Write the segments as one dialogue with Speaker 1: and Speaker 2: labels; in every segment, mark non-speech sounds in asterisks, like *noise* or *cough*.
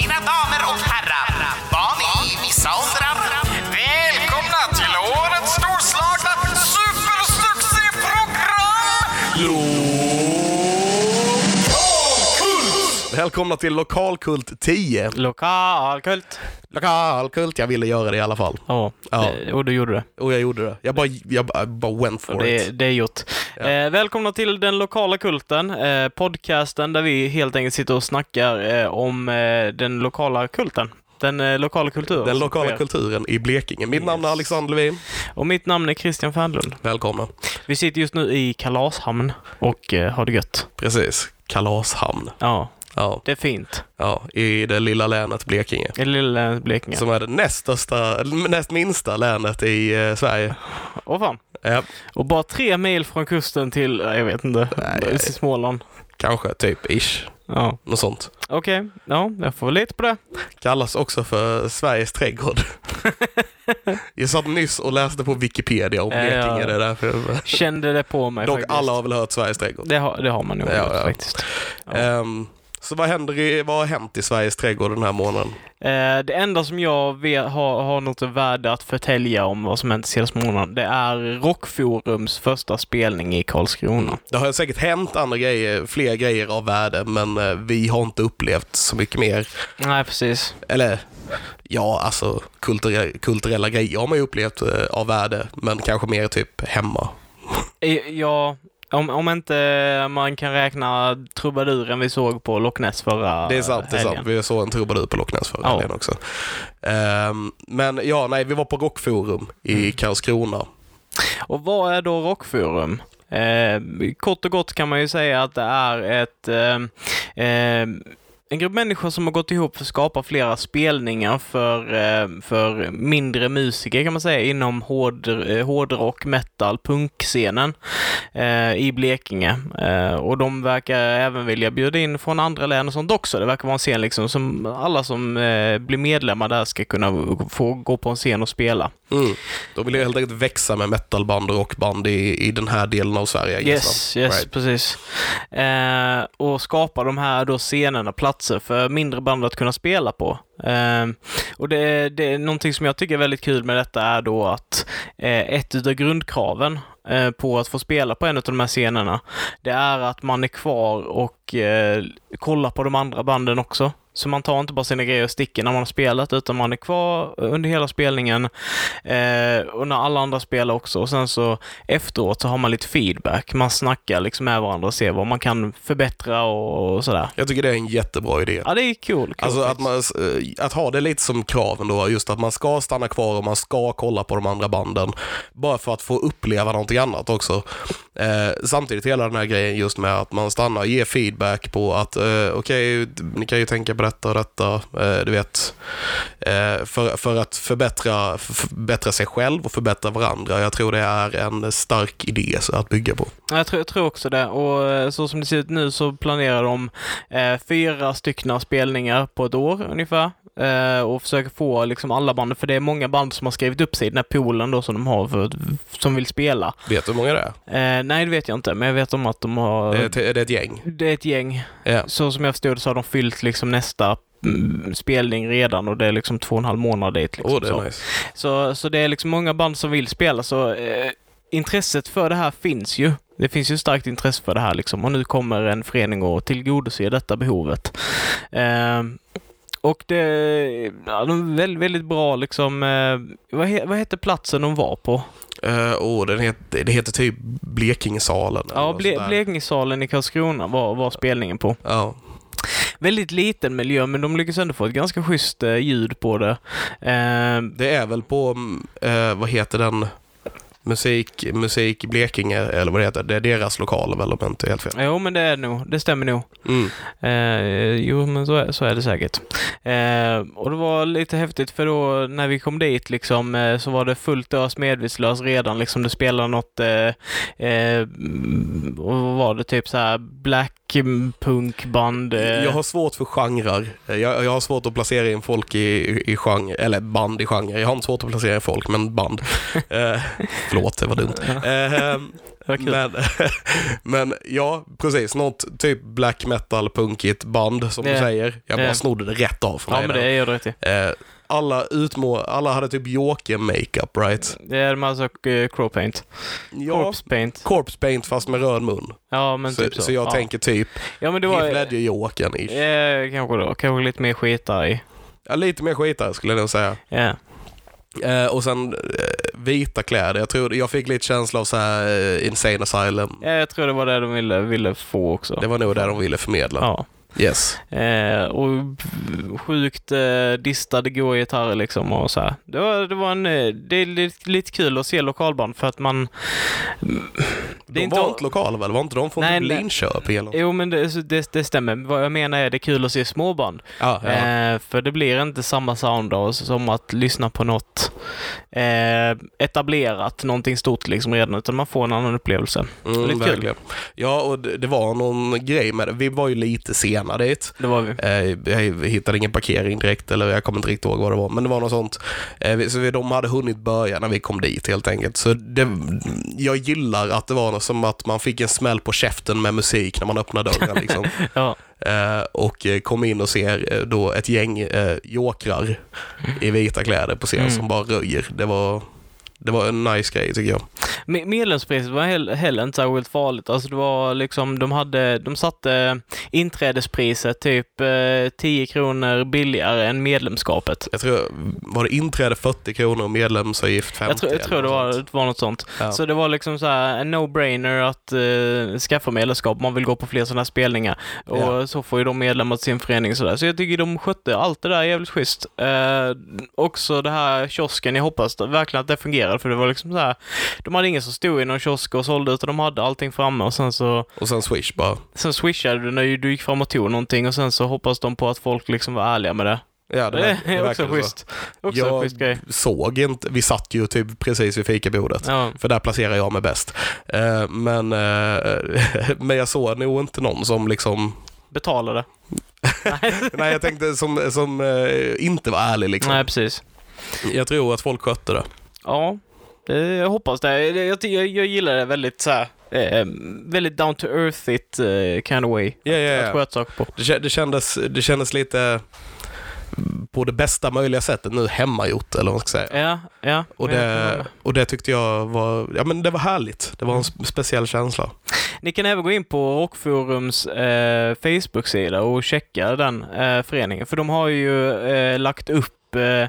Speaker 1: Mina damer och herrar, barn i vissa åldrar. Välkomna till årets storslagna supersuccéprogram!
Speaker 2: Välkomna till Lokalkult 10.
Speaker 3: Lokalkult.
Speaker 2: Lokalkult, jag ville göra det i alla fall.
Speaker 3: Ja,
Speaker 2: Ja.
Speaker 3: det- och du gjorde det.
Speaker 2: Och jag gjorde det. Jag bara, jag bara, bara went
Speaker 3: Och
Speaker 2: for
Speaker 3: det,
Speaker 2: it.
Speaker 3: det är gjort. Eh, välkomna till Den lokala kulten, eh, podcasten där vi helt enkelt sitter och snackar eh, om eh, den lokala kulten. Den eh, lokala kulturen.
Speaker 2: Den
Speaker 3: som
Speaker 2: lokala
Speaker 3: sker.
Speaker 2: kulturen i Blekinge. Mitt namn är
Speaker 3: Yes.
Speaker 2: Alexander Levin.
Speaker 3: Och mitt namn är Christian Fernlund.
Speaker 2: Välkomna.
Speaker 3: Vi sitter just nu i Kalashamn och eh, har det gött.
Speaker 2: Precis. Kalashamn.
Speaker 3: Ja,
Speaker 2: Ja,
Speaker 3: det är fint.
Speaker 2: ja, i det lilla länet Blekinge.
Speaker 3: I lilla Blekinge.
Speaker 2: Som är det näst största, näst minsta länet i eh, Sverige.
Speaker 3: Åh fan.
Speaker 2: Ja,
Speaker 3: Och bara tre mil från kusten till, eh, jag vet inte,
Speaker 2: Nej.
Speaker 3: till Småland.
Speaker 2: kanske, typ, ish.
Speaker 3: Ja,
Speaker 2: Något sånt.
Speaker 3: okej. Ja, jag får väl lita på det.
Speaker 2: Kallas också för Sveriges
Speaker 3: *laughs*
Speaker 2: trädgård. jag satt nyss och läste på Wikipedia om
Speaker 3: Ja.
Speaker 2: Blekinge. Det är därför.
Speaker 3: Kände det på mig
Speaker 2: Dock,
Speaker 3: faktiskt.
Speaker 2: alla har väl hört Sveriges trädgård.
Speaker 3: Det har, det har man nog
Speaker 2: Ja,
Speaker 3: gjort
Speaker 2: ja.
Speaker 3: faktiskt. Ja.
Speaker 2: Ehm, så vad, händer i, vad har hänt i Sveriges trädgård den här månaden?
Speaker 3: Eh, det enda som jag vet, har, har något värde att förtälja om vad som hänt senaste månaden, det är Rockforums första spelning i Karlskrona.
Speaker 2: Det har säkert hänt andra grejer, fler grejer av värde, men eh, vi har inte upplevt så mycket mer.
Speaker 3: Nej, precis.
Speaker 2: Eller, ja, alltså kulturella, kulturella grejer har man ju upplevt eh, av värde, men kanske mer typ hemma.
Speaker 3: Eh, Ja, om, om inte man kan räkna trubaduren vi såg på Loch Ness förra
Speaker 2: det är sant, det är sant.
Speaker 3: helgen.
Speaker 2: Vi såg en trubadur på Loch Ness förra
Speaker 3: Ja.
Speaker 2: helgen också. Ehm, men ja, nej, vi var på Rockforum i
Speaker 3: Mm.
Speaker 2: Karlskrona.
Speaker 3: Och vad är då Rockforum? Eh, kort och gott kan man ju säga att det är ett eh, eh, en grupp människor som har gått ihop för att skapa flera spelningar för, eh, för mindre musiker kan man säga inom hård, eh, hårdrock, metal, punkscenen eh, i Blekinge. Eh, och de verkar även vilja bjuda in från andra län och sånt också. Det verkar vara en scen liksom som alla som eh, blir medlemmar där ska kunna få gå på en scen och spela.
Speaker 2: Mm. De ville helt enkelt växa med metalband och rockband i, i den här delen av Sverige. gissar
Speaker 3: Yes,
Speaker 2: jag.
Speaker 3: yes, precis. Eh, och skapa de här då scenerna, platser för mindre band att kunna spela på. Eh, och det, det är någonting som jag tycker är väldigt kul med detta är då att eh, ett utav grundkraven eh, på att få spela på en av de här scenerna, det är att man är kvar och eh, kollar på de andra banden också. Så man tar inte bara sina grejer och sticker när man har spelat, utan man är kvar under hela spelningen eh, och när alla andra spelar också. Och sen så efteråt så har man lite feedback. Man snackar liksom med varandra och ser vad man kan förbättra och, och sådär.
Speaker 2: Jag tycker det är en jättebra idé.
Speaker 3: Ja, det är cool. cool
Speaker 2: Alltså att, man, eh, att ha det lite som kraven då, just att man ska stanna kvar och man ska kolla på de andra banden. Bara för att få uppleva någonting annat också. Eh, samtidigt hela den här grejen just med att man stannar och ger feedback på att eh, okej, ni kan ju tänka på detta och detta, eh, du vet. Eh, för, för att förbättra, för- förbättra sig själv och förbättra varandra. Jag tror det är en stark idé så att bygga på.
Speaker 3: Ja, Jag tror, jag tror också det. Och eh, så som det ser ut nu så planerar de eh, fyra stycken spelningar på ett år ungefär. Eh, och försöker få liksom alla band, för det är många band som har skrivit upp sig i den här poolen då som de har för, som vill spela.
Speaker 2: Vet du hur många det är?
Speaker 3: Eh, nej, det vet jag inte, men jag vet om att de har...
Speaker 2: Det är ett, det är ett gäng.
Speaker 3: Det är ett gäng.
Speaker 2: Ja.
Speaker 3: Så som jag förstod det så har de fyllt liksom nästa mm, spelning redan och det är liksom två och en halv månad dit. Liksom,
Speaker 2: Åh, det
Speaker 3: så.
Speaker 2: är nice.
Speaker 3: Så, så det är liksom många band som vill spela, så eh, intresset för det här finns ju. Det finns ju starkt intresse för det här liksom och nu kommer en förening att tillgodose detta behovet. Eh, och det ja, de är väldigt, väldigt bra liksom. Eh, vad, he, vad hette platsen de var på?
Speaker 2: Uh, oh, den heter, det heter typ Blekingesalen. eller
Speaker 3: Ja,
Speaker 2: något sånt
Speaker 3: Ble,
Speaker 2: där.
Speaker 3: Blekingesalen i Karlskrona var, var spelningen på.
Speaker 2: Ja.
Speaker 3: Väldigt liten miljö, men de lyckas ändå få ett ganska schysst eh, ljud på det. Eh,
Speaker 2: Det är väl på, mm, eh, vad heter den, Musik, musik Blekinge, eller vad det heter. Det är deras lokal väl om jag inte är helt fel.
Speaker 3: jo, men det är nog, det stämmer nog.
Speaker 2: Mm.
Speaker 3: Eh, jo, men så är, så är det säkert. Eh, och det var lite häftigt för då när vi kom dit liksom eh, så var det fullt ös medvetslös redan liksom. Det spelade något, eh, eh, mm, och vad var det, typ så här black punkband. Eh,
Speaker 2: Jag har svårt för genrer. Eh, Jag, jag har svårt att placera in
Speaker 3: *laughs*
Speaker 2: folk i, i, i genre, eller band i genre. Jag har inte svårt att placera in folk, men band. Eh, förlåt, det var dumt. Ehm,
Speaker 3: Det var kul.
Speaker 2: men, *laughs* men ja, precis. Något typ black metal punkigt band som
Speaker 3: Ja.
Speaker 2: du säger. Jag bara
Speaker 3: Ja.
Speaker 2: snodde det rätt av från
Speaker 3: ja,
Speaker 2: dig
Speaker 3: men
Speaker 2: där.
Speaker 3: det gör du rätt i.
Speaker 2: Eh, alla, utmå- alla hade typ Joker-makeup, right?
Speaker 3: Det är de alltså eh, crow paint.
Speaker 2: Ja, corpse.
Speaker 3: Corpse paint.
Speaker 2: paint fast med röd mun.
Speaker 3: Ja, men
Speaker 2: så,
Speaker 3: typ så.
Speaker 2: så. jag
Speaker 3: ja.
Speaker 2: tänker typ
Speaker 3: Ja, men det var...
Speaker 2: Heath Ledger-Jokern ish.
Speaker 3: Eh, kanske då. Kanske lite mer skitarg.
Speaker 2: Ja, lite mer skitare skulle jag nog säga.
Speaker 3: Yeah.
Speaker 2: Eh, och sen eh, vita kläder. Jag, tror, jag fick lite känsla av så här, eh, Insane Asylum.
Speaker 3: Ja, jag tror det var det de ville, ville få också.
Speaker 2: Det var nog det de ville förmedla.
Speaker 3: Ja.
Speaker 2: Yes.
Speaker 3: Eh, och sjukt eh, distade goa gitarrer liksom och så här. Det var, det var en... eh, Det är lite, lite kul att se lokalband för att man...
Speaker 2: De
Speaker 3: inte
Speaker 2: var
Speaker 3: all-
Speaker 2: inte lokala väl? Var inte de från
Speaker 3: Nej,
Speaker 2: typ
Speaker 3: nej.
Speaker 2: Linköping eller?
Speaker 3: Jo, men det, så det, det stämmer. Vad jag menar är det är kul att se småband.
Speaker 2: Ja, ja.
Speaker 3: Eh, för det blir inte samma sound då, som att lyssna på något eh, etablerat, någonting stort liksom redan, utan man får en annan upplevelse.
Speaker 2: Mm,
Speaker 3: lite kul.
Speaker 2: verkligen. Ja, och det, det var någon grej med det. Vi var ju lite sena dit.
Speaker 3: Det var vi.
Speaker 2: Eh, Jag hittade ingen parkering direkt, eller jag kommer inte riktigt ihåg vad det var, men det var något sånt. Eh, vi- Så vi- de hade hunnit börja när vi kom dit helt enkelt. Så det, jag gillar att det var något som att man fick en smäll på käften med musik när man öppnade dörren.
Speaker 3: *laughs*
Speaker 2: Liksom.
Speaker 3: Ja,
Speaker 2: Eh, och eh, kom in och ser eh, då ett gäng eh, jokrar i vita kläder på scen
Speaker 3: Mm.
Speaker 2: som bara röjer. Det var, det var en nice grej tycker jag.
Speaker 3: Me- Medlemspriset var hell- heller inte särskilt farligt. Alltså det var liksom, de, hade, de satte inträdespriset typ eh, 10 kronor billigare än medlemskapet.
Speaker 2: Jag tror, var det inträde 40 kronor och medlemsavgift 50?
Speaker 3: Jag, tror jag
Speaker 2: eller
Speaker 3: tror det
Speaker 2: något
Speaker 3: var,
Speaker 2: sånt.
Speaker 3: det var något sånt.
Speaker 2: Ja.
Speaker 3: Så det var liksom så här en no-brainer att eh, skaffa medlemskap om man vill gå på fler sådana här spelningar. Och
Speaker 2: Ja.
Speaker 3: så får ju de medlemmar till sin förening sådär. Så jag tycker de skötte allt det där jävligt schysst. Eh, också det här kiosken, jag hoppas det- verkligen att det fungerade för det var liksom så här. De hade ingen som stod i någon kiosk och sålde utan de hade allting framme och sen så
Speaker 2: Och sen Swish bara.
Speaker 3: sen swishade du när du gick fram och tog någonting och sen så hoppas de på att folk liksom var ärliga med det.
Speaker 2: Ja,
Speaker 3: Det,
Speaker 2: det, verk- det
Speaker 3: är också
Speaker 2: verkade så.
Speaker 3: schysst. Också
Speaker 2: Jag-
Speaker 3: en schysst grej.
Speaker 2: Såg inte, vi satt ju typ precis vid fikabordet.
Speaker 3: Ja.
Speaker 2: För där placerar jag mig bäst. Eh, men, eh, *laughs* men jag såg nog inte någon som liksom, *laughs*
Speaker 3: Betalade.
Speaker 2: nej jag tänkte som, som eh, inte var ärlig liksom.
Speaker 3: Nej, precis.
Speaker 2: Jag tror att folk skötte det.
Speaker 3: Ja, eh, jag hoppas det. Det- Jag, ty- jag, jag gillar det väldigt så här, eh, väldigt down to earth-igt eh, kind of way.
Speaker 2: Ja, ja,
Speaker 3: Att
Speaker 2: ja.
Speaker 3: sköta saker på.
Speaker 2: Det, kä- det, kändes, det kändes lite på det bästa möjliga sättet nu hemmagjort eller vad man ska säga.
Speaker 3: Ja, ja.
Speaker 2: Och
Speaker 3: men jag kan hålla Mm.
Speaker 2: det,
Speaker 3: med.
Speaker 2: och det tyckte jag var, ja men det var härligt. Det var en sp- speciell känsla.
Speaker 3: Mm, Ni kan även gå in på Rockforums eh, Facebook-sida och checka den eh, föreningen. För de har ju eh, lagt upp eh,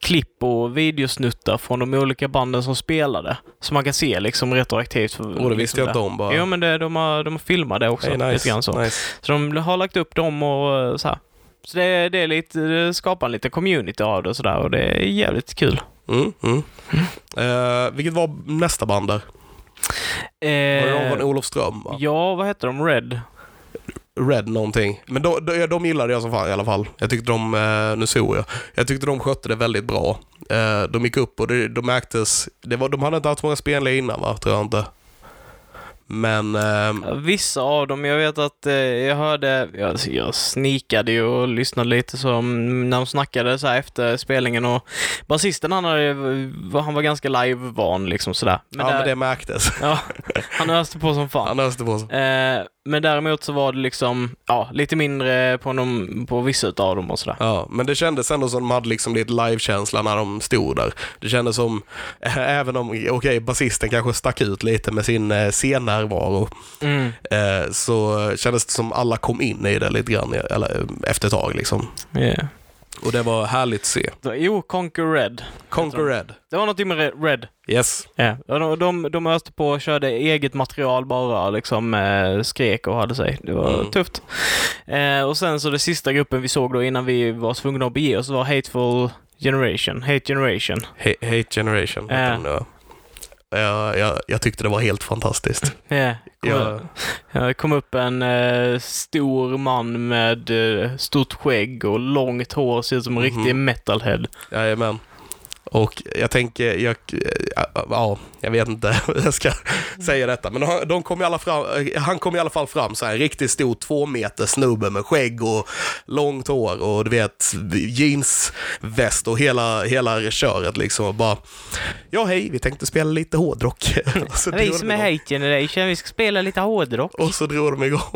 Speaker 3: klipp och videosnuttar från de olika banden som spelade. Så man kan se liksom retroaktivt.
Speaker 2: Och det visste jag inte om bara.
Speaker 3: Jo, men det, de, har, de har filmat det också.
Speaker 2: Hey,
Speaker 3: lite
Speaker 2: nice,
Speaker 3: grann så.
Speaker 2: nice.
Speaker 3: Så de har lagt upp dem och eh, så här. Så det, det, är lite, det skapar en liten community av det och sådär och det är jävligt kul.
Speaker 2: Mm, mm. Eh, vilket var nästa band där? Var det de från
Speaker 3: Eh,
Speaker 2: Olofström? va?
Speaker 3: ja, vad heter de? Red?
Speaker 2: Red någonting. Men de, de, de gillade jag som fan i alla fall. Jag tyckte de, eh, nu såg jag, jag tyckte de skötte det väldigt bra. Eh, de gick upp och det, de märktes, det var, de hade inte haft många spelningar innan va, tror jag inte. Men, eh,
Speaker 3: Vissa av dem. Jag vet att eh, jag hörde, jag, jag snikade ju och lyssnade lite så mm, när de snackade så här efter spelningen och basisten han, hade, eh, han var ganska live-van liksom sådär.
Speaker 2: ja,
Speaker 3: där-
Speaker 2: men det märktes.
Speaker 3: *laughs* ja, han öste på som fan.
Speaker 2: Han öste på sig.
Speaker 3: Eh, men däremot så var det liksom, ja, lite mindre på, dem, på vissa utav dem och sådär.
Speaker 2: Ja, men det kändes ändå som de hade liksom lite live-känsla när de stod där. Det kändes som, eh, även om, okej, basisten kanske stack ut lite med sin eh, scennärvaro,
Speaker 3: Mm.
Speaker 2: eh, så kändes det som alla kom in i det lite grann, eller eh, efter ett tag liksom.
Speaker 3: Yeah.
Speaker 2: Och det var härligt att se.
Speaker 3: Jo, Conquer Red.
Speaker 2: Conquer Red.
Speaker 3: Det var någonting med Re- Red.
Speaker 2: Yes.
Speaker 3: Ja. De, de, de öste på och körde eget material bara, liksom eh, skrek och hade sig. Det var
Speaker 2: Mm.
Speaker 3: tufft. Eh, och sen så det sista gruppen vi såg då innan vi var tvungna att bege oss var Hateful Generation. Hate Generation.
Speaker 2: Ha- Hate Generation
Speaker 3: Ja.
Speaker 2: heter den nu. Jag, jag, jag tyckte det var helt fantastiskt.
Speaker 3: Yeah.
Speaker 2: Jag,
Speaker 3: Det kom upp en eh, stor man med eh, stort skägg och långt hår, ser ut som en
Speaker 2: Mhm.
Speaker 3: riktig metalhead.
Speaker 2: jajamän. Och jag tänker, jag, eh, ja, jag vet inte *laughs* hur jag ska
Speaker 3: Mm.
Speaker 2: säga detta, men de, de kom i alla fram, han kom i alla fall fram så här, en riktigt stor två meter snubbe med skägg och långt hår och du vet jeansväst och hela, hela köret liksom. Och bara, ja hej, vi tänkte spela lite hårdrock. *laughs* Och så
Speaker 3: Vi
Speaker 2: drog
Speaker 3: som
Speaker 2: de
Speaker 3: är
Speaker 2: igång.
Speaker 3: Hate Generation, vi ska spela lite hårdrock.
Speaker 2: Och så drog de igång. *laughs*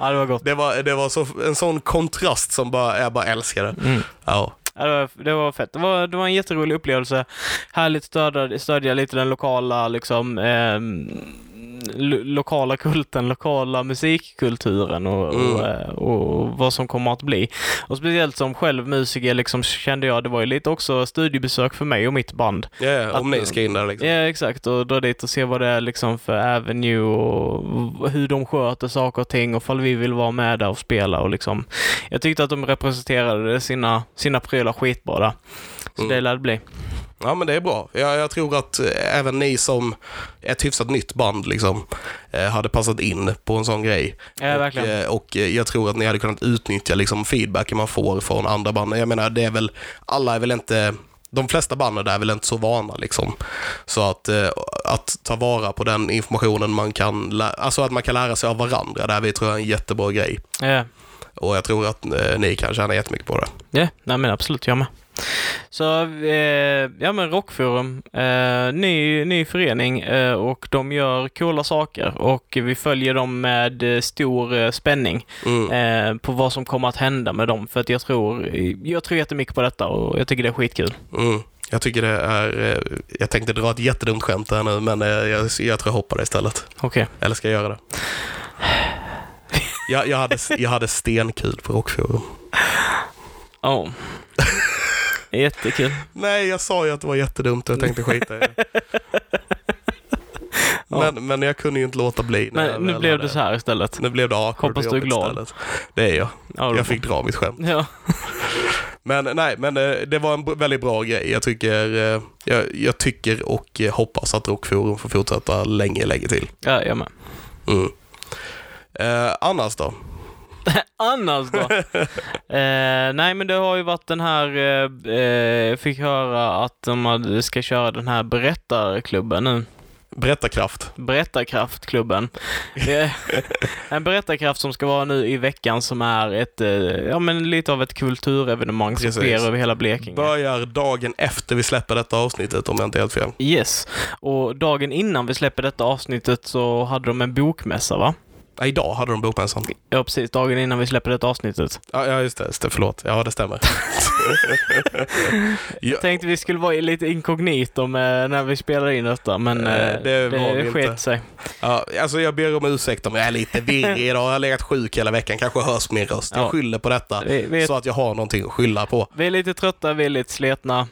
Speaker 3: Ja, det var gott.
Speaker 2: Det var, det var så, en sån kontrast som bara, jag bara älskar det.
Speaker 3: Mm.
Speaker 2: Ja.
Speaker 3: Ja, det, var, det var fett. Det var, det var en jätterolig upplevelse. Härligt stödja, stödja lite den lokala liksom ehm, lo- lokala kulten, lokala musikkulturen och, och, eh, och vad som kommer att bli. Och speciellt som själv musiker liksom kände jag, det var ju lite också studiebesök för mig och mitt band.
Speaker 2: Ja, ja, om
Speaker 3: Att-
Speaker 2: ni ska in där liksom.
Speaker 3: Ja, exakt. Och dra dit och se vad det är liksom för avenue och v- hur de sköter saker och ting och fall vi vill vara med där och spela och liksom. Jag tyckte att de representerade sina, sina prylar skitbra där. Så det lär det bli.
Speaker 2: Ja, men det är bra. Jag, jag tror att eh, även ni som är ett hyfsat nytt band liksom, eh, hade passat in på en sån grej.
Speaker 3: Ja,
Speaker 2: och,
Speaker 3: verkligen.
Speaker 2: eh, och eh, jag tror att ni hade kunnat utnyttja liksom, feedbacken man får från andra band. Jag menar, det är väl, alla är väl inte de flesta banden där är väl inte så vana liksom. Så att, eh, att ta vara på den informationen man kan, lä- alltså att man kan lära sig av varandra, där vi tror jag är en jättebra grej.
Speaker 3: Ja,
Speaker 2: Och jag tror att eh, ni kan tjäna jättemycket på det.
Speaker 3: ja nej men absolut, jag med. Så, eh, ja men Rockforum, eh, ny, ny förening eh, och de gör coola saker och vi följer dem med eh, stor eh, spänning.
Speaker 2: Mm.
Speaker 3: eh, på vad som kommer att hända med dem. För att jag tror, jag tror jättemycket på detta och jag tycker det är skitkul.
Speaker 2: Mm. Jag tycker det är... eh, Jag tänkte dra ett jättedumt skämt här nu, men eh, jag, jag tror jag hoppar det istället.
Speaker 3: Okej.
Speaker 2: Eller ska jag göra
Speaker 3: *laughs*
Speaker 2: det? Jag, jag, hade, jag hade stenkul på Rockforum.
Speaker 3: Ja. *laughs* Jättekul.
Speaker 2: Nej, jag sa ju att det var jättedumt och jag tänkte skita i
Speaker 3: *laughs*
Speaker 2: det. Men, men jag kunde ju inte låta bli. när jag
Speaker 3: Men nu
Speaker 2: väl
Speaker 3: blev
Speaker 2: hade-
Speaker 3: det så här istället.
Speaker 2: Nu blev det awkward
Speaker 3: Hoppas
Speaker 2: och
Speaker 3: du är
Speaker 2: jobbigt
Speaker 3: glad.
Speaker 2: Istället. Det är jag.
Speaker 3: Ja, då-
Speaker 2: Jag fick dra mitt skämt.
Speaker 3: Ja,
Speaker 2: Men nej, men eh, det var en b- väldigt bra grej. Jag tycker, eh, jag, jag tycker och eh, hoppas att Rockforum får fortsätta länge, länge till.
Speaker 3: ja jag med.
Speaker 2: Mm. Eh, annars då?
Speaker 3: Annars
Speaker 2: *laughs*
Speaker 3: då? eh, nej, men det har ju varit den här... eh, Eh, jag fick höra att de hade- ska köra den här berättarklubben nu.
Speaker 2: Berättarkraft.
Speaker 3: Berättarkraftklubben. Det är
Speaker 2: *laughs*
Speaker 3: en berättarkraft som ska vara nu i veckan som är ett, eh, ja men lite av ett kulturevenemang som
Speaker 2: Precis.
Speaker 3: sker över hela Blekinge.
Speaker 2: Börjar dagen efter vi släpper detta avsnittet om jag inte är helt fel.
Speaker 3: Yes, och dagen innan vi släpper detta avsnittet så hade de en bokmässa va?
Speaker 2: Ja, idag hade de bokmässan.
Speaker 3: Ja precis, dagen innan vi släpper detta avsnittet.
Speaker 2: Ja, ja, just det. Just det. Förlåt. Ja, det *laughs* stämmer. ja,
Speaker 3: Tänkte vi skulle vara lite inkognito med när vi spelar in detta men
Speaker 2: Eh,
Speaker 3: eh,
Speaker 2: det var vi
Speaker 3: det
Speaker 2: inte.
Speaker 3: sket sig.
Speaker 2: ja, alltså jag ber om ursäkt om jag är lite virrig *laughs* idag. Jag har legat sjuk hela veckan. Kanske hörs min röst. Jag
Speaker 3: Ja.
Speaker 2: skyller på detta
Speaker 3: Vi, vi, är,
Speaker 2: så att jag har någonting att skylla på.
Speaker 3: vi är lite trötta, vi är lite sletna,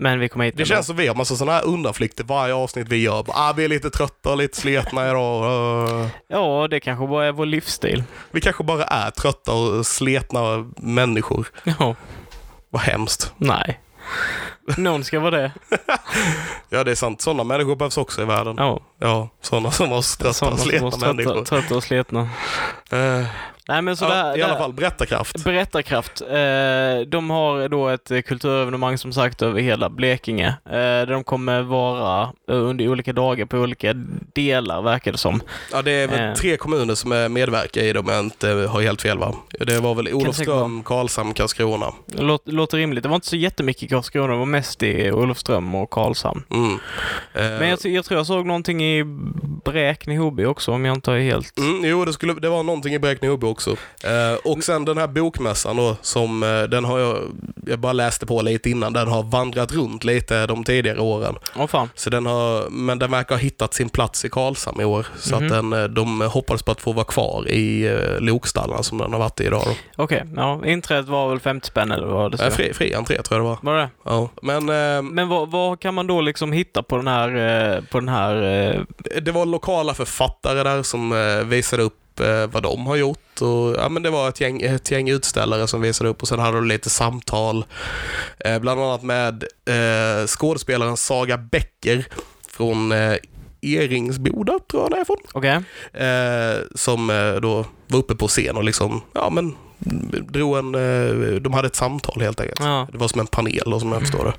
Speaker 3: men vi kommer hit
Speaker 2: Det
Speaker 3: ändå.
Speaker 2: känns som vi har massa sådana här undanflykter varje avsnitt vi gör. Bara, Ah, vi är lite trötta och lite sletna idag. *laughs* Eh,
Speaker 3: Ja, det kanske bara är vår livsstil.
Speaker 2: Vi kanske bara är trötta och sletna människor.
Speaker 3: Ja,
Speaker 2: Vad hemskt.
Speaker 3: nej. Någon ska vara det.
Speaker 2: Ja, det är sant. Sådana människor behövs också i världen. Ja,
Speaker 3: Ja,
Speaker 2: sådana som oss trötta
Speaker 3: sådana
Speaker 2: och
Speaker 3: som
Speaker 2: sleta
Speaker 3: oss trötta,
Speaker 2: människor.
Speaker 3: trötta och sletna.
Speaker 2: Eh,
Speaker 3: Nej men så det
Speaker 2: ja,
Speaker 3: här-
Speaker 2: I alla
Speaker 3: det-
Speaker 2: fall, berättarkraft.
Speaker 3: Berättarkraft. Eh, de har då ett eh, kulturevenemang som sagt över hela Blekinge. Eh, där de kommer vara eh, under olika dagar på olika delar verkar det som.
Speaker 2: Ja, det är väl
Speaker 3: Eh.
Speaker 2: tre kommuner som är medverkar i det om jag inte har helt fel va? Det var väl Olofström, Karlshamn, Karlskrona.
Speaker 3: Låt, låter rimligt. Det var inte så jättemycket i Karlskrona, det var mest i Olofström och Karlshamn.
Speaker 2: Mm. Eh,
Speaker 3: Men jag, jag tror jag såg någonting i Bräkne Hoby också om jag inte har helt...
Speaker 2: Mm, jo, det, skulle, det var någonting i Bräkne-Hubbe också. Eh, och sen den här bokmässan då, som eh, den har jag, jag bara läste på lite innan, den har vandrat runt lite de tidigare åren.
Speaker 3: Åh fan.
Speaker 2: Så den har, men den verkar ha hittat sin plats i Karlshamn i år. Så
Speaker 3: Mhm.
Speaker 2: att den, eh, de hoppades på att få vara kvar i eh, lokstallarna som den har varit i idag. Då.
Speaker 3: Okej, ja. Inträdet var väl 50 spänn eller vad det
Speaker 2: Eh,
Speaker 3: så?
Speaker 2: fri, fri entré tror jag det var.
Speaker 3: Var det?
Speaker 2: Ja. Men eh,
Speaker 3: Men vad, vad kan man då liksom hitta på den här, eh, på den här eh,
Speaker 2: det var lokala författare där som eh, visade upp eh, vad de har gjort. Och, ja, men det var ett gäng, ett gäng utställare som visade upp och sen hade de lite samtal. Eh, bland annat med eh, skådespelaren Saga Becker från eh, Eringsboda, tror jag det är från.
Speaker 3: okej?
Speaker 2: Eh, som eh, då var uppe på scen och liksom, ja men drog en, eh, de hade ett samtal helt enkelt.
Speaker 3: Ja.
Speaker 2: Det var som en panel och som jag förstår det.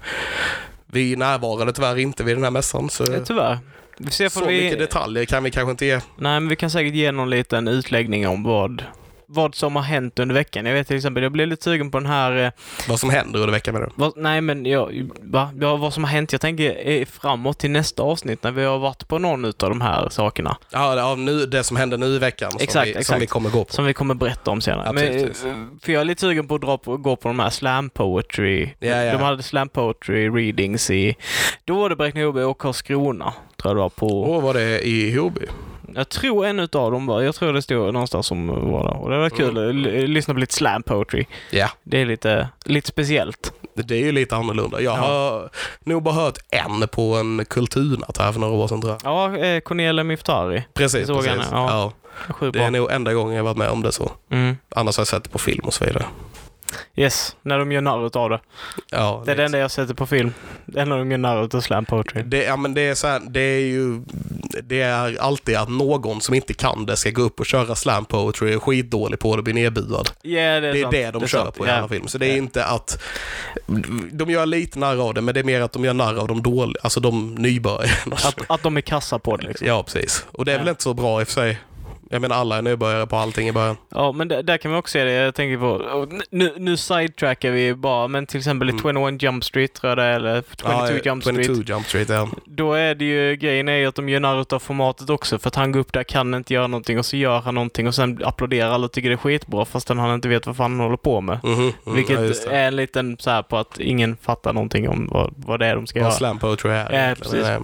Speaker 2: Vi är närvarande tyvärr inte vid den här mässan, så,
Speaker 3: Eh, Tyvärr. Vi ser
Speaker 2: så
Speaker 3: får vi...
Speaker 2: mycket detaljer kan vi kanske inte ge.
Speaker 3: Nej, men vi kan säkert ge någon liten utläggning om vad, vad som har hänt under veckan. Jag vet till exempel, jag blev lite sugen på den här... eh,
Speaker 2: Vad som händer under veckan med det.
Speaker 3: Vad, nej, men jag, va? ja, vad som har hänt. Jag tänker eh, framåt till nästa avsnitt när vi har varit på någon av de här sakerna
Speaker 2: Ja, det- ja, nu, det som händer nu i veckan som,
Speaker 3: Exakt,
Speaker 2: vi, som
Speaker 3: exakt.
Speaker 2: vi kommer gå på.
Speaker 3: som vi kommer berätta om senare.
Speaker 2: Ja,
Speaker 3: men,
Speaker 2: precis.
Speaker 3: eh, för jag är lite sugen på att dra på, gå på de här slam poetry.
Speaker 2: Ja, ja.
Speaker 3: De hade slam poetry readings i... Då var det Bräkne-Hoby och Karlskrona, tror jag det var. På,
Speaker 2: Och var det i Hobby.
Speaker 3: Jag tror en utav dem var, jag tror det stod någonstans som var där. Och det var kul att l-
Speaker 2: Mm.
Speaker 3: lyssna på lite slam poetry.
Speaker 2: Ja,
Speaker 3: Det är lite, lite speciellt.
Speaker 2: det är ju lite annorlunda. Jag
Speaker 3: Ja.
Speaker 2: har nog bara hört en på en kulturnatt här för några år sedan tror jag.
Speaker 3: Ja, eh, Cornelia Miftari.
Speaker 2: Precis,
Speaker 3: Såg
Speaker 2: precis.
Speaker 3: henne, ja. Sjukt
Speaker 2: Det är
Speaker 3: bra.
Speaker 2: nog enda gången jag varit med om det så.
Speaker 3: Mm.
Speaker 2: Annars har jag sett det på film och så vidare.
Speaker 3: Yes, när de gör narr utav det.
Speaker 2: Ja,
Speaker 3: Det är det enda jag sätter på film. Det är när de gör narr utav slam poetry.
Speaker 2: det, ja, men det, är så här, det är ju det är alltid att någon som inte kan det ska gå upp och köra slam poetry, är skitdålig på det och blir nedbuad.
Speaker 3: Ja, det är,
Speaker 2: Det är
Speaker 3: sant.
Speaker 2: det de kör
Speaker 3: sant.
Speaker 2: på i
Speaker 3: Ja.
Speaker 2: alla film. Så det är
Speaker 3: Ja.
Speaker 2: inte att... De gör lite narr av det, men det är mer att de gör narr av de dåliga, alltså de nybörjarna.
Speaker 3: Att, att de är kassa på det liksom.
Speaker 2: Ja, precis. Och det är väl
Speaker 3: Ja.
Speaker 2: inte så bra i och för sig. Jag menar, alla är nybörjare på allting i början.
Speaker 3: Ja, men där, där kan man också se det. Jag tänker på... och Nu, nu sidetrackar vi bara, men till exempel i
Speaker 2: Mm.
Speaker 3: 21 Jump Street tror jag det är, eller 22 Jump Street.
Speaker 2: 22 Jump Street, ja.
Speaker 3: Då är det ju, grejen är ju att de gör narr utav formatet också för att han går upp där, kan inte göra någonting och så gör han någonting och sen applåderar alla och tycker det är skitbra fastän han inte vet vad fan han håller på med.
Speaker 2: Mhm, mm, ja, just
Speaker 3: Vilket
Speaker 2: det.
Speaker 3: är en liten så här på att ingen fattar någonting om vad, vad det är de ska
Speaker 2: Vad
Speaker 3: göra.
Speaker 2: slam poetry är.
Speaker 3: Ja,
Speaker 2: egentligen.
Speaker 3: precis.
Speaker 2: Nej.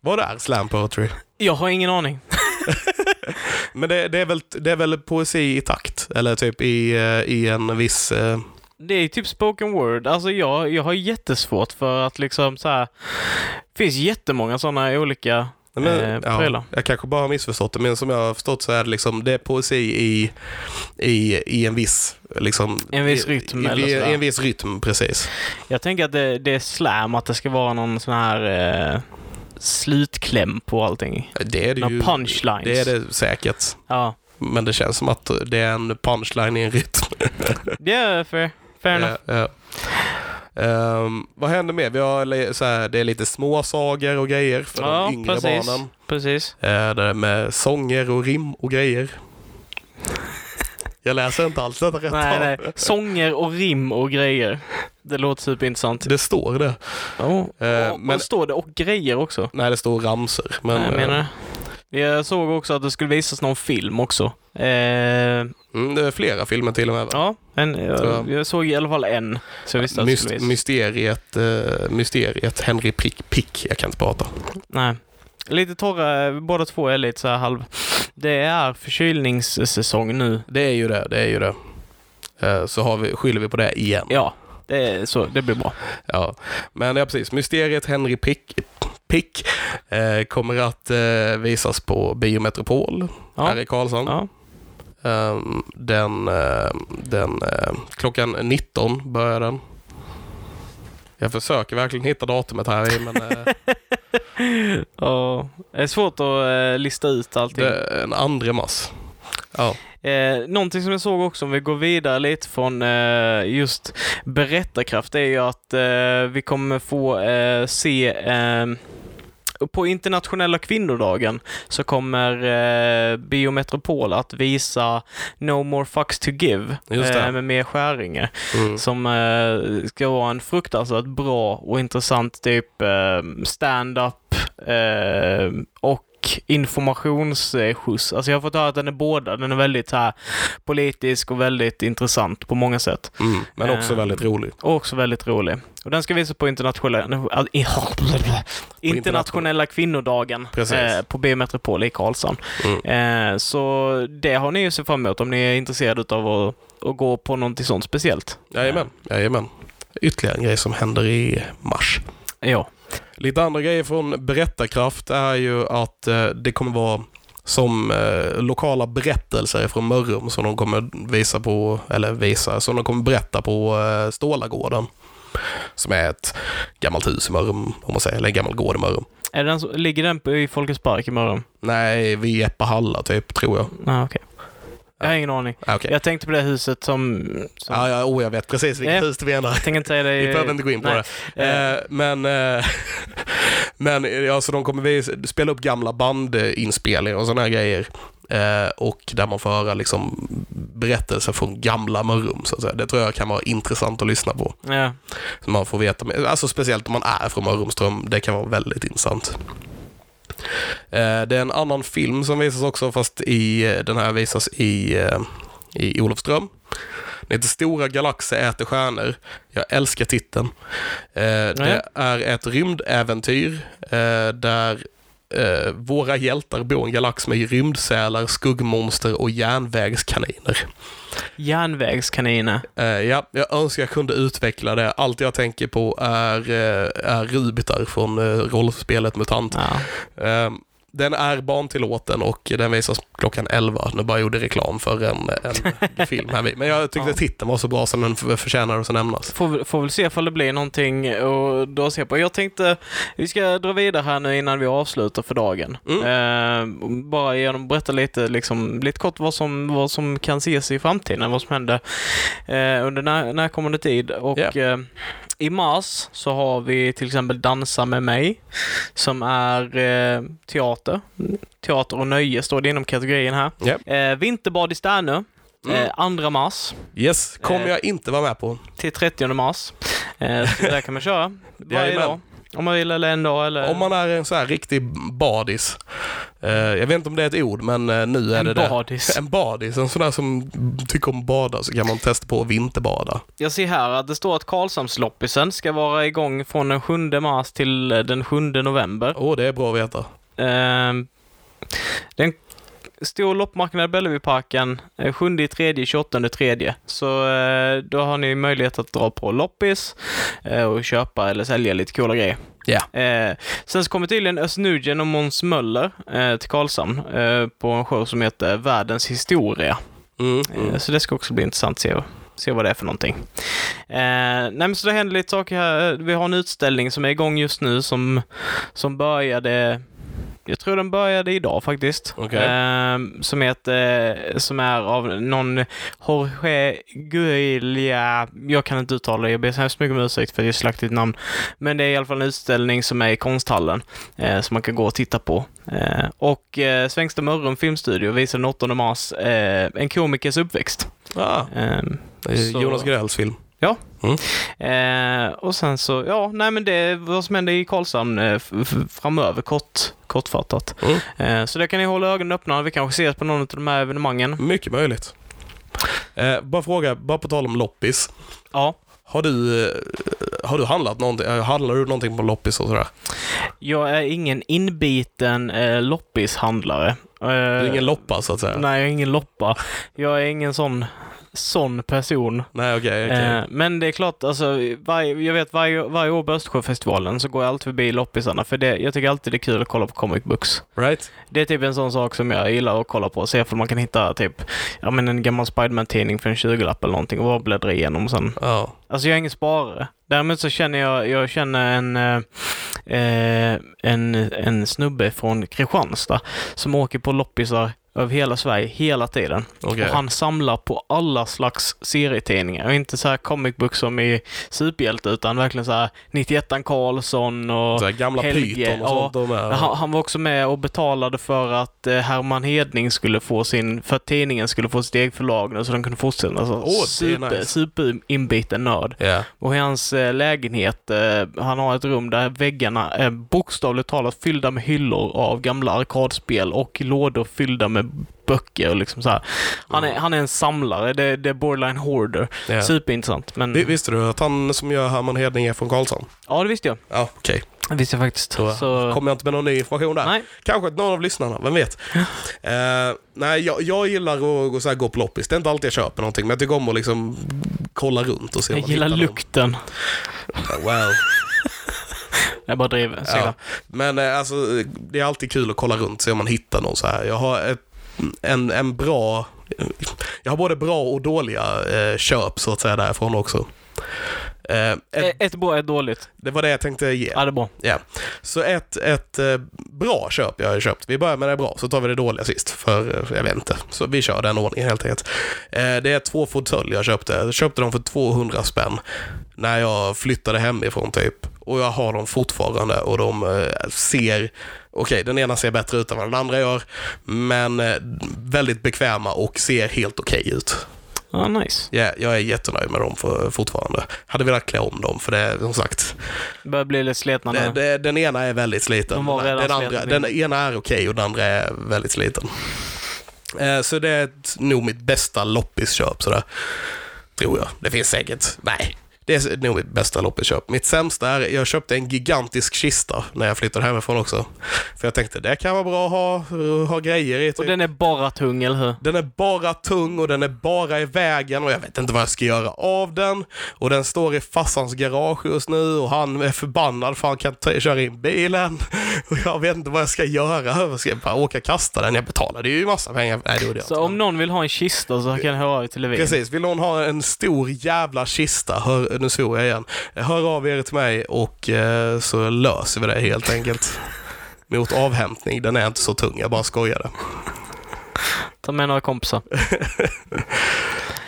Speaker 2: Vad är slam poetry?
Speaker 3: Jag har ingen aning.
Speaker 2: Men det, det, är väl, det är väl poesi i takt? Eller typ i, eh, i en viss... eh,
Speaker 3: Det är ju typ spoken word. Alltså jag, jag har jättesvårt för att liksom så här. Det finns jättemånga sådana olika
Speaker 2: nej, men,
Speaker 3: eh,
Speaker 2: ja,
Speaker 3: prylar.
Speaker 2: jag kanske bara har missförstått det, men som jag har förstått så är det liksom, det är poesi i, i, i en viss... Liksom,
Speaker 3: En viss
Speaker 2: i-
Speaker 3: rytm
Speaker 2: i,
Speaker 3: eller
Speaker 2: i,
Speaker 3: sådär.
Speaker 2: I en viss rytm, precis.
Speaker 3: Jag tänker att det, det är slam, att det ska vara någon sån här eh, slutkläm på allting.
Speaker 2: Det är det
Speaker 3: Några
Speaker 2: ju.
Speaker 3: punchlines.
Speaker 2: Det är det säkert.
Speaker 3: Ja,
Speaker 2: Men det känns som att det är en punchline i en rytm.
Speaker 3: det är fair, fair enough.
Speaker 2: Ja, ja. Eh, Ehm, vad händer med? Vi har li- så här, det är lite småsagor och grejer för
Speaker 3: Ja,
Speaker 2: de yngre
Speaker 3: precis.
Speaker 2: barnen.
Speaker 3: Precis.
Speaker 2: Eh, det är med sånger och rim och grejer. Jag läser inte alls detta rätt.
Speaker 3: Nej, nej. Sånger och rim och grejer. Det låter superintressant.
Speaker 2: Det står det.
Speaker 3: Oh.
Speaker 2: Eh,
Speaker 3: och,
Speaker 2: men-
Speaker 3: och står det och grejer också?
Speaker 2: Nej, det står ramser. Men,
Speaker 3: Men, jag menar
Speaker 2: eh,
Speaker 3: det. Jag såg också att det skulle visas någon film också. Eh,
Speaker 2: mm, det är flera filmer till och med. va?
Speaker 3: ja, en,
Speaker 2: Tror
Speaker 3: jag,
Speaker 2: jag.
Speaker 3: jag såg i alla fall en. Så jag visste att det
Speaker 2: Myst-
Speaker 3: skulle visas.
Speaker 2: mysteriet, eh, mysteriet Henry Pick, Pick. Jag kan inte prata.
Speaker 3: Nej. Lite torra, båda två är lite så här halv... Det är förkylningssäsong nu.
Speaker 2: Det är ju det, det är ju det. Eh, Så har vi, skyller vi på det igen.
Speaker 3: Ja, det, är så, det blir bra.
Speaker 2: Ja. Men ja, precis. Mysteriet Henry Pick, Pick eh, kommer att eh, visas på Biometropol
Speaker 3: Ja.
Speaker 2: här i Karlshamn.
Speaker 3: Ja.
Speaker 2: Ehm, den eh, den eh, klockan 19 börjar den. Jag försöker verkligen hitta datumet här i, men
Speaker 3: *laughs*
Speaker 2: eh,
Speaker 3: Ja, det är svårt att eh, lista ut allting.
Speaker 2: det är en 2 mars. Ja.
Speaker 3: Eh, någonting som jag såg också, om vi går vidare lite från eh, just berättarkraft, det är ju att eh, vi kommer få eh, se eh, på internationella kvinnodagen så kommer eh, Biometropol att visa No More Fucks To Give
Speaker 2: Just det.
Speaker 3: eh, med Mia Skäringer
Speaker 2: Mm.
Speaker 3: som eh, ska vara en fruktansvärt bra och intressant typ eh, stand-up eh, och informationsskjuts. Alltså jag har fått höra att den är båda. Den är väldigt så här, politisk och väldigt intressant på många sätt.
Speaker 2: Mm. Men också
Speaker 3: Ehm,
Speaker 2: väldigt rolig.
Speaker 3: Och också väldigt rolig. Och den ska visas på internationella, äh, i- internationella kvinnodagen
Speaker 2: Precis.
Speaker 3: eh, på Biometropol i Karlsson.
Speaker 2: Mm.
Speaker 3: Eh, så det har ni ju sett fram emot om ni är intresserade av att, att gå på någonting sånt speciellt.
Speaker 2: Jajamän. Jajamän. Ytterligare en grej som händer i mars.
Speaker 3: Ja.
Speaker 2: Lite andra grejer från Berättarkraft är ju att eh, det kommer vara som eh, lokala berättelser från Mörrum som de kommer visa på, eller visa, som de kommer berätta på eh, Stålagården. Som är ett gammalt hus i Mörrum, om man säger, eller en gammal gård i Mörrum.
Speaker 3: Är den så, ligger den på, i Folkets park imorgon?
Speaker 2: Nej, vid Eppahalla typ, tror jag.
Speaker 3: Ah, okej. Jag har ingen aning.
Speaker 2: Ja, okej.
Speaker 3: Jag tänkte på det huset som... som
Speaker 2: Ja, ja, oh, jag vet precis vilket
Speaker 3: Ja.
Speaker 2: hus du menar.
Speaker 3: Jag tänker inte säga det.
Speaker 2: Vi behöver inte gå in på
Speaker 3: Nej.
Speaker 2: det. Eh, men eh, *laughs* men eh, alltså, de kommer vis- spela upp gamla bandinspelningar och sådana här grejer. Eh, och där man får höra liksom, berättelser från gamla Mörrum. Så att säga. Det tror jag kan vara intressant att lyssna på.
Speaker 3: Ja.
Speaker 2: Så man får veta, mer. alltså speciellt om man är från Mörrumström, det kan vara väldigt intressant. Eh, Det är en annan film som visas också, fast i, eh, den här visas i, eh, i Olofström. Den heter Stora galaxer äter stjärnor. Jag älskar titeln. Eh, Det är ett rymdäventyr eh, där eh, våra hjältar bor i en galax med rymdsälar, skuggmonster och järnvägskaniner.
Speaker 3: Järnvägskaniner.
Speaker 2: Eh, ja, jag önskar jag kunde utveckla det. Allt jag tänker på är, eh, är Rubitar från eh, rollspelet MUTANT.
Speaker 3: Ja.
Speaker 2: Eh, den är barntillåten och den visas klockan 11. Nu bara gjorde jag reklam för en, *laughs* en film här. vid. Men jag tyckte
Speaker 3: Ja.
Speaker 2: titeln var så bra som den f- förtjänar att nämnas.
Speaker 3: Får, väl- får väl se ifall det blir någonting och då se på. Jag tänkte vi ska dra vidare här nu innan vi avslutar för dagen. Eh, bara genom att berätta lite, liksom, lite kort vad som, vad som kan ses i framtiden, vad som händer eh, under när, närkommande tid. Och, eh, i mars så har vi till exempel Dansa med mig som är eh, teater. Teater och nöje står det inom kategorin här.
Speaker 2: Ja.
Speaker 3: Eh, Vinterbad i Sternö, eh, 2 mars
Speaker 2: Yes, kommer
Speaker 3: Eh.
Speaker 2: jag inte vara med på.
Speaker 3: till 30 mars. Eh, så där kan
Speaker 2: *laughs*
Speaker 3: man köra varje
Speaker 2: Jajamän.
Speaker 3: dag. Om man vill eller en dag eller...
Speaker 2: Om man är en så här riktig badis. Eh, jag vet inte om det är ett ord, men eh, nu är
Speaker 3: En
Speaker 2: det
Speaker 3: badis.
Speaker 2: det. En badis. En sån där som tycker om att bada, så kan man testa på att vinterbada.
Speaker 3: Jag ser här att det står att Karlshamnsloppisen ska vara igång från den 7 mars till eh, den 7 november.
Speaker 2: Åh, det är bra att veta.
Speaker 3: Ehm, den stor loppmarknad i Bellevueparken eh, 7 tredje 28 tredje. Så eh, då har ni möjlighet att dra på loppis eh, och köpa eller sälja lite coola grejer.
Speaker 2: Ja.
Speaker 3: Eh, sen så kommer tydligen Özz Nujen och Måns Möller eh, till Karlshamn eh, på en show som heter Världens historia.
Speaker 2: Mm,
Speaker 3: Eh, Så det ska också bli intressant att se, se vad det är för någonting. Eh, nej, men så det händer lite saker här. Eh, Vi har en utställning som är igång just nu som, som började jag tror den började idag faktiskt.
Speaker 2: Okej.
Speaker 3: Eh, som, heter, som är av någon Jorge Guilla. Jag kan inte uttala det. Jag ber så hemskt mycket om ursäkt för det är ett slaktigt namn. Men det är i alla fall en utställning som är i konsthallen eh, som man kan gå och titta på. Eh, och eh, Svängsta Mörrum Filmstudio visar den 8 mars eh, en komikers uppväxt.
Speaker 2: Ah,
Speaker 3: Ehm,
Speaker 2: det är
Speaker 3: Så-
Speaker 2: Jonas Grells film.
Speaker 3: Eh, och sen så, ja, nej men det är vad som händer i Karlshamn eh, f- f- framöver, kort, kortfattat.
Speaker 2: Mm.
Speaker 3: Eh, så det kan ni hålla ögonen öppna. Vi kanske ses på någon av de här evenemangen.
Speaker 2: Mycket möjligt. Eh, bara fråga, bara på tal om loppis.
Speaker 3: Ja,
Speaker 2: Har du, eh, har du handlat någonting? eh, Handlar du någonting på loppis och sådär?
Speaker 3: jag är ingen inbiten eh, loppishandlare. Eh,
Speaker 2: Du är ingen loppa så att säga?
Speaker 3: Nej, jag är ingen loppa. Jag är ingen sån, sån person.
Speaker 2: Nej, okej. okej.
Speaker 3: Eh, men det är klart, alltså, varje, jag vet varje, varje år på Östersjöfestivalen så går jag alltid förbi loppisarna för det, jag tycker alltid det är kul att kolla på comic books.
Speaker 2: Right?
Speaker 3: Det är typ en sån sak som jag gillar att kolla på. Se om man kan hitta typ, ja men en gammal Spiderman-tidning för en 20-lapp eller någonting och bara bläddra igenom sen.
Speaker 2: Ja.
Speaker 3: Alltså jag är ingen sparare. Däremot så känner jag, jag känner en, eh, eh, en, en snubbe från Kristianstad som åker på loppisar över hela Sverige hela tiden.
Speaker 2: Okej.
Speaker 3: Och han samlar på alla slags serietidningar. Och inte så här comic book som i superhjälte utan verkligen så här 91 Karlsson och...
Speaker 2: Så här gamla
Speaker 3: Helge,
Speaker 2: Python och sånt. De är,
Speaker 3: Men Han, han var också med och betalade för att eh, Herman Hedning skulle få sin, för att tidningen skulle få sitt eget förlag nu så de kunde fortsätta. Alltså,
Speaker 2: det är
Speaker 3: super,
Speaker 2: nice.
Speaker 3: superinbiten nörd.
Speaker 2: Ja.
Speaker 3: Och i hans eh, lägenhet, eh, han har ett rum där väggarna är bokstavligt talat fyllda med hyllor av gamla arkadspel och lådor fyllda med böcker och liksom så här. Han är, han är en samlare, det, det är borderline hoarder.
Speaker 2: ja.
Speaker 3: Superintressant, men...
Speaker 2: Vi- Visste du att han som gör Herman Hedning är från Karlshamn?
Speaker 3: ja, det visste jag.
Speaker 2: Ja, okej.
Speaker 3: Det visste jag faktiskt.
Speaker 2: Då
Speaker 3: Så...
Speaker 2: Kommer jag inte med någon ny information där?
Speaker 3: Nej.
Speaker 2: Kanske att någon av lyssnarna, vem vet? Eh, nej, jag, jag gillar att gå, så här, gå på loppis. Det är inte alltid jag köper någonting, men jag tycker om att liksom kolla runt och se om
Speaker 3: Jag
Speaker 2: man
Speaker 3: gillar
Speaker 2: hittar någon.
Speaker 3: lukten.
Speaker 2: Wow.
Speaker 3: Jag bara driver. *laughs* Så
Speaker 2: Ja. Men eh, alltså, det är alltid kul att kolla runt se om man hittar någon så här. Jag har ett, en, en bra... Jag har både bra och dåliga eh, köp så att säga därifrån också. Eh, ett,
Speaker 3: Ett, ett bra, ett dåligt.
Speaker 2: det var det jag tänkte ge.
Speaker 3: Ja, det är bra.
Speaker 2: Ja. Så ett, ett eh, bra köp jag har köpt. Vi börjar med det bra, så tar vi det dåliga sist. För eh, jag vet inte. Så vi kör den ordningen helt enkelt. Eh, det är två fåtöljer jag köpte. Jag köpte dem för 200 spänn när jag flyttade hemifrån typ. Och jag har dem fortfarande och de eh, ser Okej, den ena ser bättre ut än vad den andra gör, men eh, väldigt bekväma och ser helt okej ut.
Speaker 3: Ja, nice.
Speaker 2: Ja, jag är jättenöjd med dem för, fortfarande. Hade velat klä om dem, för det är som sagt,
Speaker 3: Börjar bli lite slitna
Speaker 2: det,
Speaker 3: nu.
Speaker 2: det, den ena är väldigt sliten.
Speaker 3: De var redan
Speaker 2: den, andra,
Speaker 3: sliten.
Speaker 2: den ena är okej och den andra är väldigt sliten. Eh, Så det är ett- nog mitt bästa loppisköp sådär. Tror jag. Det finns säkert. Nej. Det är nog mitt bästa loppisköp. Mitt sämsta är, jag köpte en gigantisk kista när jag flyttade hemifrån också. För jag tänkte, det kan vara bra att ha, ha grejer i.
Speaker 3: Och
Speaker 2: Typ.
Speaker 3: den är bara tung, eller hur?
Speaker 2: Den är bara tung och den är bara i vägen och jag vet inte vad jag ska göra av den. Och den står i farsans garage just nu och han är förbannad för han kan ta- köra in bilen. *laughs* Och jag vet inte vad jag ska göra. Jag ska bara åka och kasta den. Jag betalade ju massa pengar. Nej, det gjorde jag
Speaker 3: Så
Speaker 2: inte.
Speaker 3: om någon vill ha en kista så kan jag höra av er till Levin.
Speaker 2: Precis, vill någon ha en stor jävla kista, hör, nu svor jag igen. Hör av er till mig och eh, så löser vi det helt
Speaker 3: *laughs*
Speaker 2: enkelt. Mot avhämtning, den är inte så tung, jag bara skojade.
Speaker 3: Ta med några kompisar.
Speaker 2: *laughs*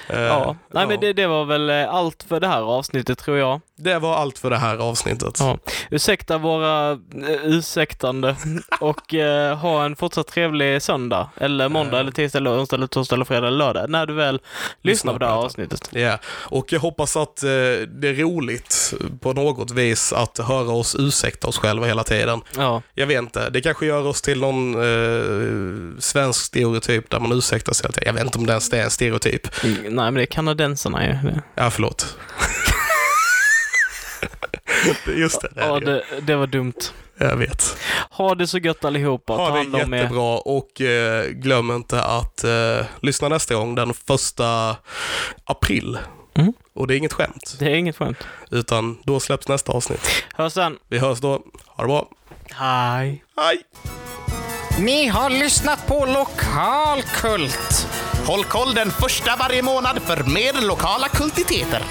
Speaker 2: Eh,
Speaker 3: Ja. Nej,
Speaker 2: ja.
Speaker 3: men det, det var väl eh, allt för det här avsnittet, tror jag.
Speaker 2: Det var allt för det här avsnittet.
Speaker 3: Ja. Ursäkta våra eh,
Speaker 2: *laughs*
Speaker 3: ursäktande och eh, ha en fortsatt trevlig söndag, eller
Speaker 2: Eh.
Speaker 3: måndag, eller tisdag, eller onsdag, eller torsdag, eller fredag, eller lördag, när du väl lyssnar på det här
Speaker 2: detta.
Speaker 3: avsnittet.
Speaker 2: Ja, och jag hoppas att eh, det är roligt på något vis att höra oss ursäkta oss själva hela tiden.
Speaker 3: Ja,
Speaker 2: Jag vet inte, det kanske gör oss till någon eh, svensk stereotyp där man ursäktar sig hela tiden. Jag vet inte om det ens är en stereotyp.
Speaker 3: nej men det är kanadensarna ju. Det-
Speaker 2: Ja, förlåt. *laughs* Just det, det är
Speaker 3: Ja,
Speaker 2: det. ju.
Speaker 3: det, det var dumt.
Speaker 2: jag vet.
Speaker 3: Ha det så gött allihopa. Ta
Speaker 2: Ha
Speaker 3: hand
Speaker 2: det
Speaker 3: om er.
Speaker 2: jättebra och eh, glöm inte att eh, lyssna nästa gång den första april.
Speaker 3: Mm.
Speaker 2: Och det är inget skämt,
Speaker 3: Det är inget skämt.
Speaker 2: utan då släpps nästa avsnitt.
Speaker 3: Hörs sen.
Speaker 2: Vi hörs då. Ha det bra.
Speaker 3: Hej.
Speaker 2: Hej!
Speaker 1: Ni har lyssnat på Lokalkult. Håll koll den första varje månad för mer lokala kultiteter.